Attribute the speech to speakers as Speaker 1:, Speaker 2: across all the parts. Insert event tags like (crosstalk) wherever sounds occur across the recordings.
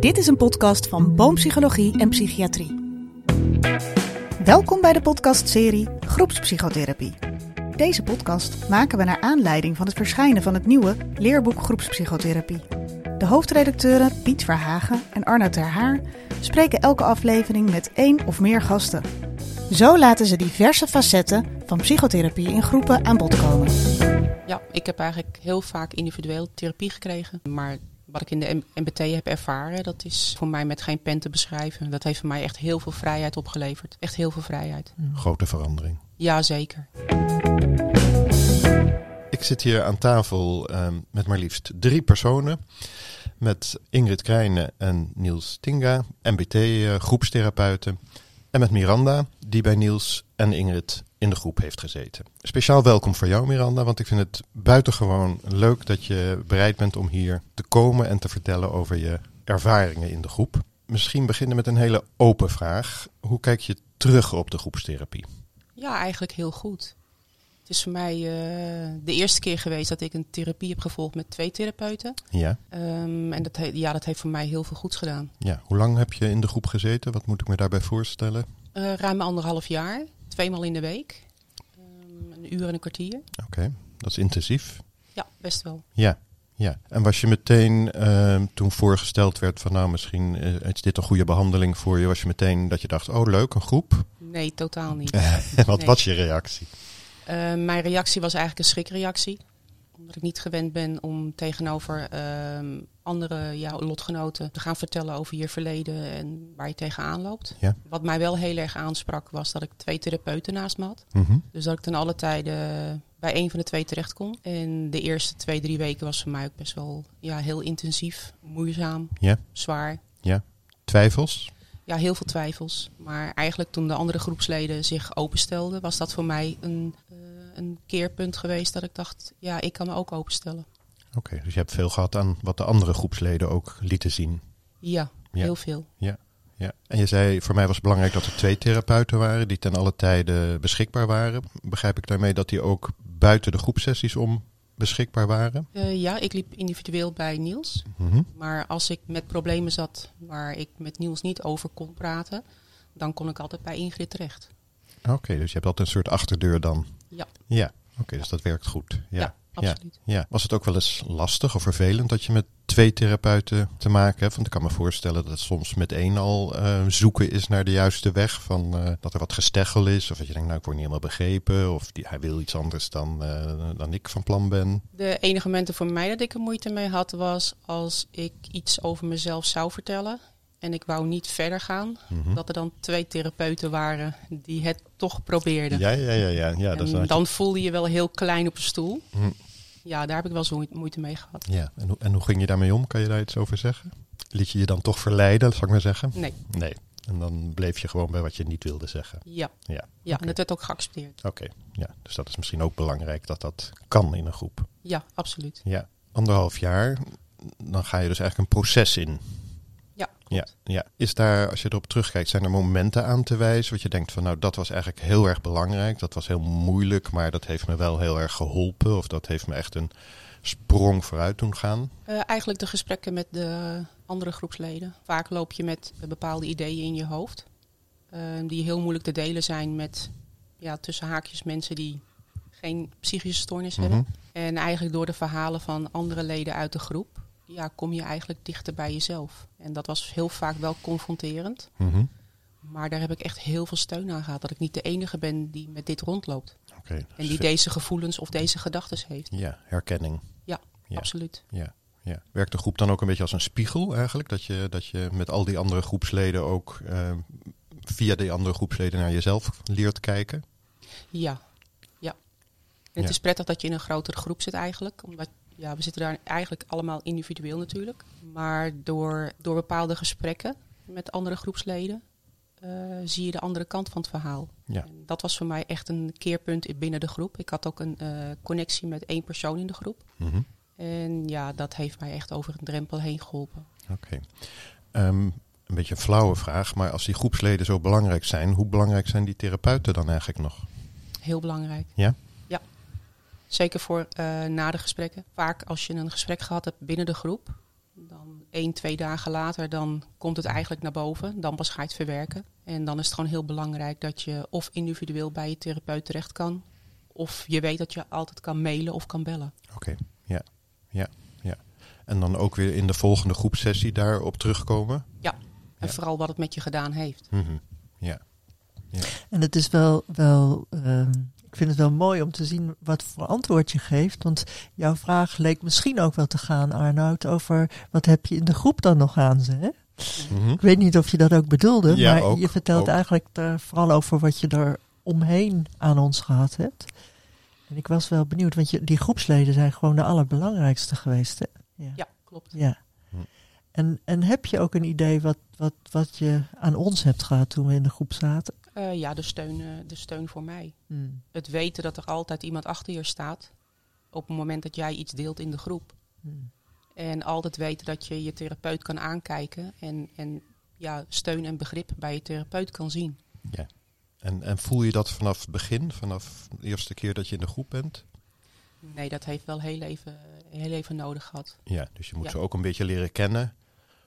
Speaker 1: Dit is een podcast van Boompsychologie en Psychiatrie. Welkom bij de podcastserie Groepspsychotherapie. Deze podcast maken we naar aanleiding van het verschijnen van het nieuwe leerboek Groepspsychotherapie. De hoofdredacteuren Piet Verhagen en Arno Ter Haar spreken elke aflevering met één of meer gasten. Zo laten ze diverse facetten van psychotherapie in groepen aan bod komen.
Speaker 2: Ja, ik heb eigenlijk heel vaak individueel therapie gekregen. Maar wat ik in de M- MBT heb ervaren, dat is voor mij met geen pen te beschrijven. Dat heeft voor mij echt heel veel vrijheid opgeleverd. Echt heel veel vrijheid.
Speaker 3: Grote verandering.
Speaker 2: Jazeker.
Speaker 3: Ik zit hier aan tafel ehm, met maar liefst drie personen. Met Ingrid Krijnen en Niels Tinga, MBT eh, groepstherapeuten. En met Miranda, die bij Niels en Ingrid in de groep heeft gezeten. Speciaal welkom voor jou Miranda, want ik vind het buitengewoon leuk dat je bereid bent om hier te komen en te vertellen over je ervaringen in de groep. Misschien beginnen met een hele open vraag. Hoe kijk je terug op de groepstherapie?
Speaker 2: Ja, eigenlijk heel goed. Het is voor mij eh, de eerste keer geweest dat ik een therapie heb gevolgd met twee therapeuten.
Speaker 3: Ja?
Speaker 2: Ehm, en dat, he- ja, dat heeft voor mij heel veel goeds gedaan.
Speaker 3: Ja, hoe lang heb je in de groep gezeten? Wat moet ik me daarbij voorstellen?
Speaker 2: Eh, ruim anderhalf jaar, tweemaal in de week. Ehm, een uur en een kwartier.
Speaker 3: Oké, dat is intensief.
Speaker 2: Ja, best wel.
Speaker 3: Ja, ja. En was je meteen, eh, toen voorgesteld werd van nou misschien eh, is dit een goede behandeling voor je, was je meteen dat je dacht, oh leuk, een groep?
Speaker 2: Nee, totaal niet.
Speaker 3: Wat
Speaker 2: Nee.
Speaker 3: was je reactie?
Speaker 2: Eh, mijn reactie was eigenlijk een schrikreactie. Omdat ik niet gewend ben om tegenover ehm, andere ja, lotgenoten te gaan vertellen over je verleden en waar je tegenaan loopt.
Speaker 3: Ja.
Speaker 2: Wat mij wel heel erg aansprak was dat ik twee therapeuten naast me had.
Speaker 3: Mhm.
Speaker 2: Dus dat ik ten alle tijde eh, bij één van de twee terecht kon. En de eerste twee, drie weken was voor mij ook best wel ja, heel intensief, moeizaam,
Speaker 3: Ja.
Speaker 2: zwaar.
Speaker 3: Twijfels?
Speaker 2: Ja, heel veel twijfels. Maar eigenlijk toen de andere groepsleden zich openstelden, was dat voor mij een, eh, een keerpunt geweest dat ik dacht, ja, ik kan me ook openstellen.
Speaker 3: Oké, dus je hebt veel gehad aan wat de andere groepsleden ook lieten zien.
Speaker 2: Ja,
Speaker 3: Ja.
Speaker 2: heel veel.
Speaker 3: Ja. En je zei, voor mij was het belangrijk dat er twee therapeuten waren die ten alle tijde beschikbaar waren. Begrijp ik daarmee dat die ook buiten de groepsessies om beschikbaar waren?
Speaker 2: Eh, ja, ik liep individueel bij Niels.
Speaker 3: Mhm.
Speaker 2: Maar als ik met problemen zat waar ik met Niels niet over kon praten, dan kon ik altijd bij Ingrid terecht.
Speaker 3: Oké, dus je hebt altijd een soort achterdeur dan.
Speaker 2: Ja.
Speaker 3: Ja, oké, dus dat werkt goed. Ja.
Speaker 2: Ja,
Speaker 3: Ja,
Speaker 2: absoluut.
Speaker 3: ja. Was het ook wel eens lastig of vervelend dat je met twee therapeuten te maken hebt? Want ik kan me voorstellen dat het soms met één al eh, zoeken is naar de juiste weg. Van, eh, dat er wat gesteggel is of dat je denkt, nou ik word niet helemaal begrepen. Of die, hij wil iets anders dan, eh, dan ik van plan ben.
Speaker 2: De enige momenten voor mij dat ik er moeite mee had, was als ik iets over mezelf zou vertellen en ik wou niet verder gaan,
Speaker 3: Mhm.
Speaker 2: dat er dan twee therapeuten waren die het toch probeerden.
Speaker 3: Ja, ja, ja, ja. ja, dat is
Speaker 2: en
Speaker 3: een-
Speaker 2: dan voelde je wel heel klein op een stoel.
Speaker 3: Hm.
Speaker 2: Ja, daar heb ik wel zo moeite mee gehad.
Speaker 3: ja. En, hoe- en hoe ging je daarmee om? Kan je daar iets over zeggen? Liet je je dan toch verleiden, zal ik maar zeggen?
Speaker 2: Nee,
Speaker 3: Nee. En dan bleef je gewoon bij wat je niet wilde zeggen.
Speaker 2: ja.
Speaker 3: Ja.
Speaker 2: Ja, en dat werd ook geaccepteerd.
Speaker 3: Oké, ja. Dus dat is misschien ook belangrijk dat dat kan in een groep.
Speaker 2: Ja, absoluut.
Speaker 3: Ja. Anderhalf jaar, dan ga je dus eigenlijk een proces in.
Speaker 2: Ja,
Speaker 3: Ja, ja. Is daar, als je erop terugkijkt, zijn er momenten aan te wijzen? Wat je denkt van, nou, dat was eigenlijk heel erg belangrijk. Dat was heel moeilijk, maar dat heeft me wel heel erg geholpen. Of dat heeft me echt een sprong vooruit doen gaan.
Speaker 2: Eh, eigenlijk de gesprekken met de andere groepsleden. Vaak loop je met bepaalde ideeën in je hoofd. eh, die heel moeilijk te delen zijn met ja, tussen haakjes mensen die geen psychische stoornis hebben.
Speaker 3: Mhm.
Speaker 2: En eigenlijk door de verhalen van andere leden uit de groep ja, kom je eigenlijk dichter bij jezelf. En dat was heel vaak wel confronterend.
Speaker 3: Mhm.
Speaker 2: Maar daar heb ik echt heel veel steun aan gehad. Dat ik niet de enige ben die met dit rondloopt.
Speaker 3: Oké.
Speaker 2: En
Speaker 3: dus
Speaker 2: die
Speaker 3: ve-
Speaker 2: deze gevoelens of deze gedachten heeft.
Speaker 3: Ja, herkenning. Ja.
Speaker 2: Absoluut.
Speaker 3: Ja, ja. Werkt de groep dan ook een beetje als een spiegel eigenlijk? Dat je, dat je met al die andere groepsleden ook eh, via die andere groepsleden naar jezelf leert kijken?
Speaker 2: Ja, ja. En het
Speaker 3: Ja.
Speaker 2: is prettig dat je in een grotere groep zit eigenlijk. Omdat ja, we zitten daar eigenlijk allemaal individueel natuurlijk. Maar door, door bepaalde gesprekken met andere groepsleden eh, zie je de andere kant van het verhaal.
Speaker 3: Ja.
Speaker 2: En dat was voor mij echt een keerpunt in- binnen de groep. Ik had ook een eh, connectie met één persoon in de groep.
Speaker 3: Mhm.
Speaker 2: En ja, dat heeft mij echt over een drempel heen geholpen.
Speaker 3: Oké. Ehm, een beetje een flauwe vraag, maar als die groepsleden zo belangrijk zijn, hoe belangrijk zijn die therapeuten dan eigenlijk nog?
Speaker 2: Heel belangrijk.
Speaker 3: Ja?
Speaker 2: Ja. Zeker voor eh, na de gesprekken. Vaak als je een gesprek gehad hebt binnen de groep, dan één, twee dagen later, dan komt het eigenlijk naar boven. Dan pas ga je het verwerken. En dan is het gewoon heel belangrijk dat je of individueel bij je therapeut terecht kan. Of je weet dat je altijd kan mailen of kan bellen.
Speaker 3: Oké, ja, ja, ja. En dan ook weer in de volgende groepsessie daarop terugkomen.
Speaker 2: En
Speaker 3: Ja.
Speaker 2: vooral wat het met je gedaan heeft.
Speaker 3: Mhm, Ja,
Speaker 4: En het is wel, wel ehm, ik vind het wel mooi om te zien wat voor antwoord je geeft. Want jouw vraag leek misschien ook wel te gaan, Arnoud, over wat heb je in de groep dan nog aan ze. Hè?
Speaker 3: Mhm,
Speaker 4: Ik weet niet of je dat ook bedoelde,
Speaker 3: Ja,
Speaker 4: maar
Speaker 3: ook,
Speaker 4: je vertelt
Speaker 3: ook.
Speaker 4: eigenlijk er vooral over wat je er omheen aan ons gehad hebt. En ik was wel benieuwd, want je, die groepsleden zijn gewoon de allerbelangrijkste geweest. Hè?
Speaker 2: Ja, klopt.
Speaker 4: Ja.
Speaker 3: Hm.
Speaker 4: En, en heb je ook een idee wat, wat, wat je aan ons hebt gehad toen we in de groep zaten?
Speaker 2: Eh, ja, de steun, eh, de steun voor mij.
Speaker 4: Hm.
Speaker 2: Het weten dat er altijd iemand achter je staat. Op het moment dat jij iets deelt in de groep.
Speaker 4: Hm.
Speaker 2: En altijd weten dat je je therapeut kan aankijken. En, en ja, steun en begrip bij je therapeut kan zien.
Speaker 3: ja. En, en voel je dat vanaf het begin, vanaf de eerste keer dat je in de groep bent?
Speaker 2: Nee, dat heeft wel heel even, heel even nodig gehad.
Speaker 3: Ja, dus je moet
Speaker 2: Ja.
Speaker 3: ze ook een beetje leren kennen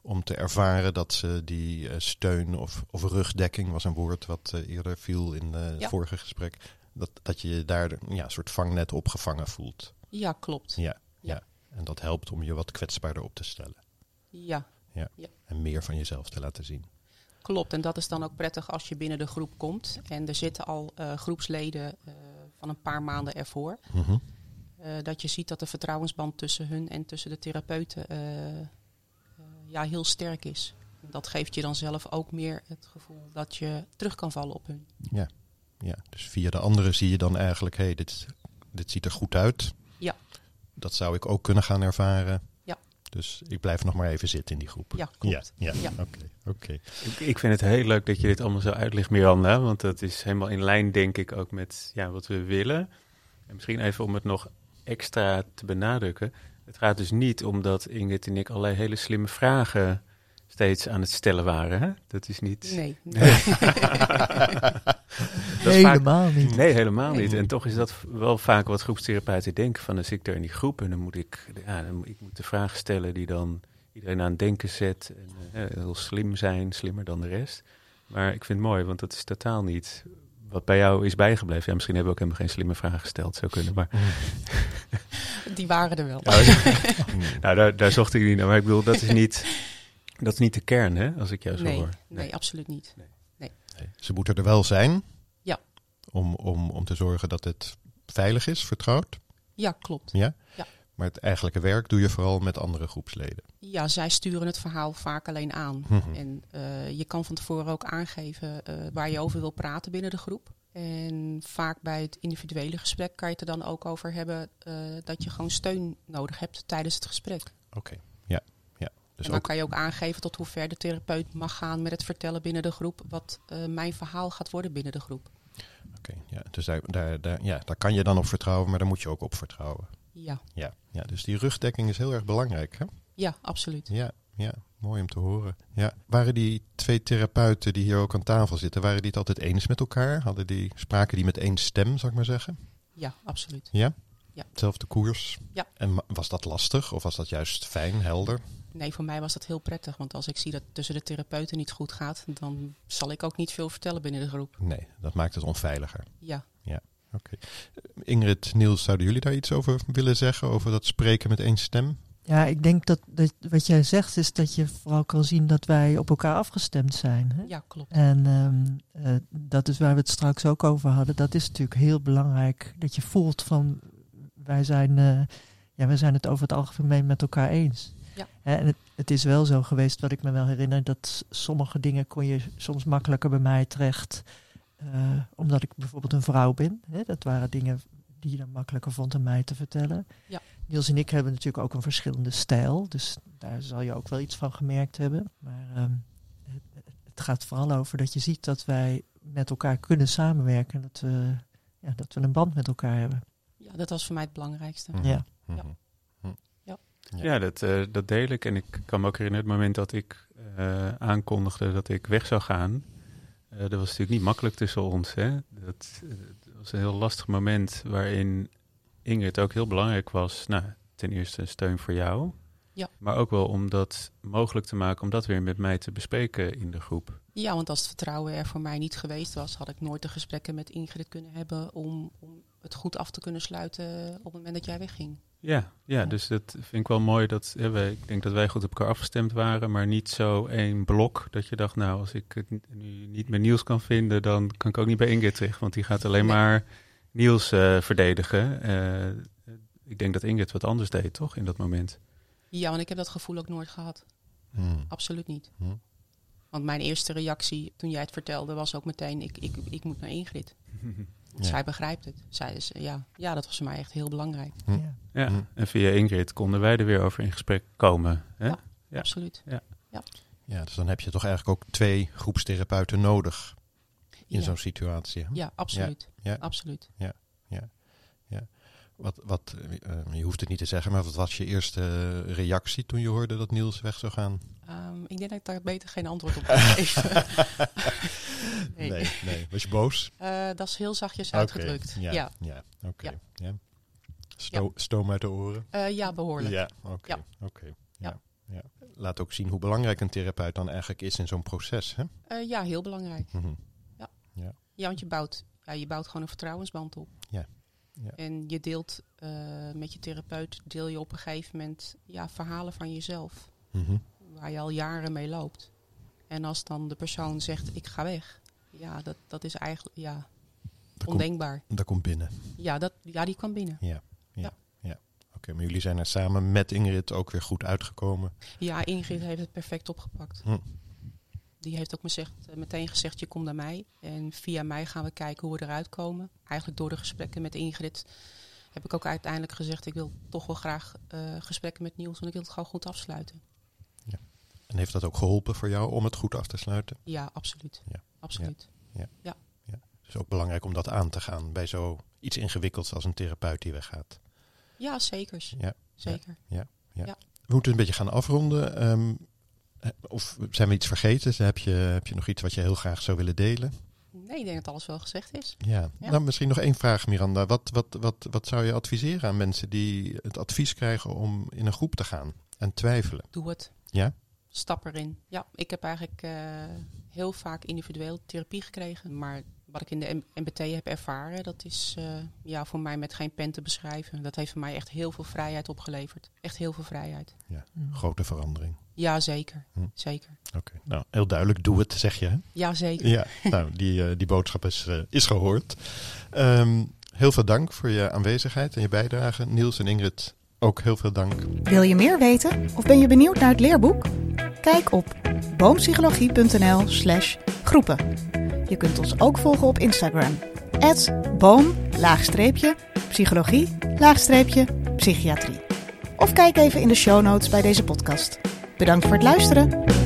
Speaker 3: om te ervaren dat ze die eh, steun of, of rugdekking was een woord wat eh, eerder viel in eh, het
Speaker 2: Ja.
Speaker 3: vorige gesprek. Dat, dat je je daar ja, een soort vangnet opgevangen voelt.
Speaker 2: Ja, klopt.
Speaker 3: Ja, ja.
Speaker 2: Ja.
Speaker 3: En dat helpt om je wat kwetsbaarder op te stellen.
Speaker 2: Ja,
Speaker 3: En meer van jezelf te laten zien.
Speaker 2: klopt. En dat is dan ook prettig als je binnen de groep komt. En er zitten al eh, groepsleden eh, van een paar maanden ervoor.
Speaker 3: Mhm.
Speaker 2: Eh, dat je ziet dat de vertrouwensband tussen hun en tussen de therapeuten eh, eh, ja, heel sterk is. Dat geeft je dan zelf ook meer het gevoel dat je terug kan vallen op hun.
Speaker 3: Ja, dus via de anderen zie je dan eigenlijk, hé, hey, dit, dit ziet er goed uit.
Speaker 2: Ja.
Speaker 3: Dat zou ik ook kunnen gaan ervaren.
Speaker 2: Ja.
Speaker 3: Dus ik blijf nog maar even zitten in die groep.
Speaker 2: Ja, klopt.
Speaker 3: Ja, ja,
Speaker 2: Ja.
Speaker 3: oké. oké.
Speaker 5: Ik, ik vind het heel leuk dat je dit allemaal zo uitlegt, Miranda. Want dat is helemaal in lijn, denk ik, ook met ja, wat we willen. En misschien even om het nog extra te benadrukken. Het gaat dus niet om dat Ingrid en ik allerlei hele slimme vragen steeds aan het stellen waren. Hè? Dat is niet...
Speaker 2: Nee, (laughs)
Speaker 5: Dat is vaak- Hmm.
Speaker 4: Helemaal niet.
Speaker 5: Nee, helemaal niet.
Speaker 3: Nee.
Speaker 5: En toch is dat v- wel vaak wat groepstherapeuten denken. Van dan zit ik daar in die groep en dan moet ik, ja, dan moet, ik moet de vraag stellen die dan iedereen aan het denken zet. En, eh, heel slim zijn, slimmer dan de rest. Maar ik vind het mooi, want dat is totaal niet wat bij jou is bijgebleven. Ja, misschien hebben we ook helemaal geen slimme vragen gesteld, zou kunnen. Maar
Speaker 2: die waren er wel.
Speaker 5: nou, (laughs)
Speaker 2: Hmm.
Speaker 5: nou, daar, daar zocht ik niet naar. Maar ik bedoel, dat is niet, dat is niet de kern, hè, als ik jou zo
Speaker 2: nee,
Speaker 5: hoor.
Speaker 2: nee, absoluut niet.
Speaker 3: Nee, Ze moeten er wel zijn.
Speaker 2: Ja.
Speaker 3: Om, om, om te zorgen dat het veilig is, vertrouwd.
Speaker 2: Ja, klopt.
Speaker 3: Maar het eigenlijke werk doe je vooral met andere groepsleden.
Speaker 2: Ja, zij sturen het verhaal vaak alleen aan.
Speaker 3: Mhm.
Speaker 2: En eh, je kan van tevoren ook aangeven eh, waar je over wil praten binnen de groep. En vaak bij het individuele gesprek kan je het er dan ook over hebben eh, dat je gewoon steun nodig hebt tijdens het gesprek.
Speaker 3: Oké. Ja. ja. Dus
Speaker 2: en dan
Speaker 3: ook,
Speaker 2: kan je ook aangeven tot hoe ver de therapeut mag gaan met het vertellen binnen de groep wat eh, mijn verhaal gaat worden binnen de groep.
Speaker 3: oké, ja. Dus daar, daar, daar, ja, daar kan je dan op vertrouwen, maar daar moet je ook op vertrouwen.
Speaker 2: Ja,
Speaker 3: Ja. ja dus die rugdekking is heel erg belangrijk. Hè?
Speaker 2: ja, absoluut.
Speaker 3: Ja, ja, mooi om te horen. Ja. Waren die twee therapeuten die hier ook aan tafel zitten, waren die het altijd eens met elkaar? Hadden die, spraken die met één stem, zou ik maar zeggen?
Speaker 2: Ja, absoluut.
Speaker 3: Ja?
Speaker 2: Ja.
Speaker 3: Zelfde koers?
Speaker 2: Ja.
Speaker 3: En ma- was dat lastig of was dat juist fijn, helder?
Speaker 2: Nee, voor mij was dat heel prettig. Want als ik zie dat het tussen de therapeuten niet goed gaat, dan zal ik ook niet veel vertellen binnen de groep.
Speaker 3: Nee, dat maakt het onveiliger.
Speaker 2: Ja,
Speaker 3: Ingrid, Niels, zouden jullie daar iets over willen zeggen? Over dat spreken met één stem?
Speaker 4: Ja, ik denk dat, dat wat jij zegt is dat je vooral kan zien dat wij op elkaar afgestemd zijn. Hè?
Speaker 2: ja klopt.
Speaker 4: En ehm, eh, dat is waar we het straks ook over hadden. Dat is natuurlijk heel belangrijk dat je voelt van wij zijn, eh, ja, wij zijn het over het algemeen met elkaar eens.
Speaker 2: Ja.
Speaker 4: Hè, En het, het is wel zo geweest, wat ik me wel herinner, dat s- sommige dingen kon je soms makkelijker bij mij terecht. eh, omdat ik bijvoorbeeld een vrouw ben. Hè? Dat waren dingen die je dan makkelijker vond aan mij te vertellen.
Speaker 2: Ja.
Speaker 4: Niels en ik hebben natuurlijk ook een verschillende stijl. Dus daar zal je ook wel iets van gemerkt hebben. Maar ehm, het gaat vooral over dat je ziet dat wij met elkaar kunnen samenwerken. en Dat we, ja, dat we een band met elkaar hebben.
Speaker 2: Ja, dat was voor mij het belangrijkste.
Speaker 3: Mhm.
Speaker 4: Ja.
Speaker 3: Mhm.
Speaker 2: Ja.
Speaker 3: Mhm.
Speaker 2: Ja.
Speaker 5: Ja, dat, eh, dat deel ik. En ik kan me ook herinneren het moment dat ik eh, aankondigde dat ik weg zou gaan. eh, dat was natuurlijk niet makkelijk tussen ons. Hè? Dat, eh, dat was een heel lastig moment waarin Ingrid ook heel belangrijk was. Nou, ten eerste steun voor jou.
Speaker 2: Ja.
Speaker 5: Maar ook wel om dat mogelijk te maken, om dat weer met mij te bespreken in de groep.
Speaker 2: Ja, want als het vertrouwen er voor mij niet geweest was, had ik nooit de gesprekken met Ingrid kunnen hebben om, om het goed af te kunnen sluiten op het moment dat jij wegging.
Speaker 5: Ja, ja, dus dat vind ik wel mooi. Dat, hè, wij, ik denk dat wij goed op elkaar afgestemd waren, maar niet zo één blok. Dat je dacht, nou, als ik het n- nu niet met Niels kan vinden, dan kan ik ook niet bij Ingrid terecht. Want die gaat alleen
Speaker 2: Nee.
Speaker 5: maar Niels eh, verdedigen. Eh, ik denk dat Ingrid wat anders deed, toch, in dat moment?
Speaker 2: (laughs) Ja, want ik heb dat gevoel ook nooit gehad.
Speaker 3: Hmm.
Speaker 2: Absoluut niet.
Speaker 3: Hm.
Speaker 2: Want mijn eerste reactie toen jij het vertelde was ook meteen, ik, ik, ik moet naar Ingrid. Want
Speaker 3: Ja.
Speaker 2: Zij begrijpt het. Zij is, ja, ja, dat was voor mij echt heel belangrijk.
Speaker 3: Hm.
Speaker 4: Ja.
Speaker 5: Ja,
Speaker 3: Hm.
Speaker 5: en via Ingrid konden wij er weer over in gesprek komen. Hè?
Speaker 2: Ja.
Speaker 5: Ja.
Speaker 2: Absoluut.
Speaker 3: Ja, dus dan heb je toch eigenlijk ook twee groepstherapeuten nodig in
Speaker 2: Ja,
Speaker 3: zo'n situatie. hè?
Speaker 2: ja absoluut.
Speaker 3: Ja.
Speaker 2: Absoluut.
Speaker 3: Wat, wat, eh, eh, je hoeft het niet te zeggen, maar wat was je eerste reactie toen je hoorde dat Niels weg zou gaan?
Speaker 2: Ehm, ik denk dat ik daar beter geen antwoord
Speaker 3: (laughs)
Speaker 2: op kan (laughs) geven. Nee.
Speaker 3: nee, nee. Was je boos?
Speaker 2: Eh, dat is heel zachtjes
Speaker 3: Oké,
Speaker 2: uitgedrukt.
Speaker 3: ja.
Speaker 2: Ja. Ja.
Speaker 3: Ja, oké.
Speaker 2: Ja.
Speaker 3: Ja. Sto- Stoom uit de oren.
Speaker 2: Eh, ja, behoorlijk.
Speaker 3: Ja, oké.
Speaker 2: Ja.
Speaker 3: oké,
Speaker 2: Ja.
Speaker 3: ja. Ja. Laat ook zien hoe belangrijk een therapeut dan eigenlijk is in zo'n proces. Hè?
Speaker 2: Eh, ja, heel belangrijk.
Speaker 3: Mhm.
Speaker 2: Ja, want je bouwt, ja, je bouwt gewoon een vertrouwensband op.
Speaker 3: Ja. Ja.
Speaker 2: En je deelt eh, met je therapeut, deel je op een gegeven moment ja, verhalen van jezelf.
Speaker 3: Mhm.
Speaker 2: waar je al jaren mee loopt. En als dan de persoon zegt, ik ga weg. Ja, dat, dat is eigenlijk ja,
Speaker 3: Dat, komt,
Speaker 2: ondenkbaar.
Speaker 3: dat komt binnen.
Speaker 2: Ja, dat, ja, die kwam binnen.
Speaker 3: Ja, ja, ja.
Speaker 2: Ja.
Speaker 3: Oké, maar jullie zijn er samen met Ingrid ook weer goed uitgekomen.
Speaker 2: Ja, Ingrid heeft het perfect opgepakt.
Speaker 3: Hm.
Speaker 2: Die heeft ook mezegd, eh, meteen gezegd, je komt naar mij. En via mij gaan we kijken hoe we eruit komen. Eigenlijk door de gesprekken met Ingrid heb ik ook uiteindelijk gezegd... ik wil toch wel graag eh, gesprekken met Niels, want ik wil het gewoon goed afsluiten.
Speaker 3: En heeft dat ook geholpen voor jou om het goed af te sluiten?
Speaker 2: Ja, absoluut.
Speaker 3: Ja.
Speaker 2: Absoluut.
Speaker 3: Het is ook belangrijk om dat aan te gaan bij zoiets ingewikkelds als een therapeut die weggaat.
Speaker 2: Ja, zeker.
Speaker 3: Ja.
Speaker 2: Zeker.
Speaker 3: We moeten een beetje gaan afronden. ehm, eh, of zijn we iets vergeten? Heb je, heb je nog iets wat je heel graag zou willen delen?
Speaker 2: Nee, ik denk dat alles wel gezegd is.
Speaker 3: Ja.
Speaker 2: Ja.
Speaker 3: Nou, misschien nog één vraag, Miranda. Wat, wat, wat, wat zou je adviseren aan mensen die het advies krijgen om in een groep te gaan en twijfelen?
Speaker 2: doe het.
Speaker 3: Ja?
Speaker 2: Stap erin. Ja, ik heb eigenlijk eh, heel vaak individueel therapie gekregen. Maar wat ik in de M- MBT heb ervaren, dat is eh, ja, voor mij met geen pen te beschrijven. Dat heeft voor mij echt heel veel vrijheid opgeleverd. Echt heel veel vrijheid.
Speaker 4: Mm.
Speaker 3: Grote verandering.
Speaker 2: Ja, zeker.
Speaker 3: Hm.
Speaker 2: Zeker.
Speaker 3: Oké. Nou, heel duidelijk. Doe het, zeg je. hè?
Speaker 2: Ja, zeker.
Speaker 3: Ja, (laughs) nou, die, eh, die boodschap is, eh, is gehoord. Ehm, heel veel dank voor je aanwezigheid en je bijdrage. Niels en Ingrid, ook heel veel dank.
Speaker 1: Wil je meer weten of ben je benieuwd naar het leerboek? Kijk op boompsychologie.nl/slash groepen. Je kunt ons ook volgen op Instagram. boom-psychologie-psychiatrie. Of kijk even in de show notes bij deze podcast. Bedankt voor het luisteren.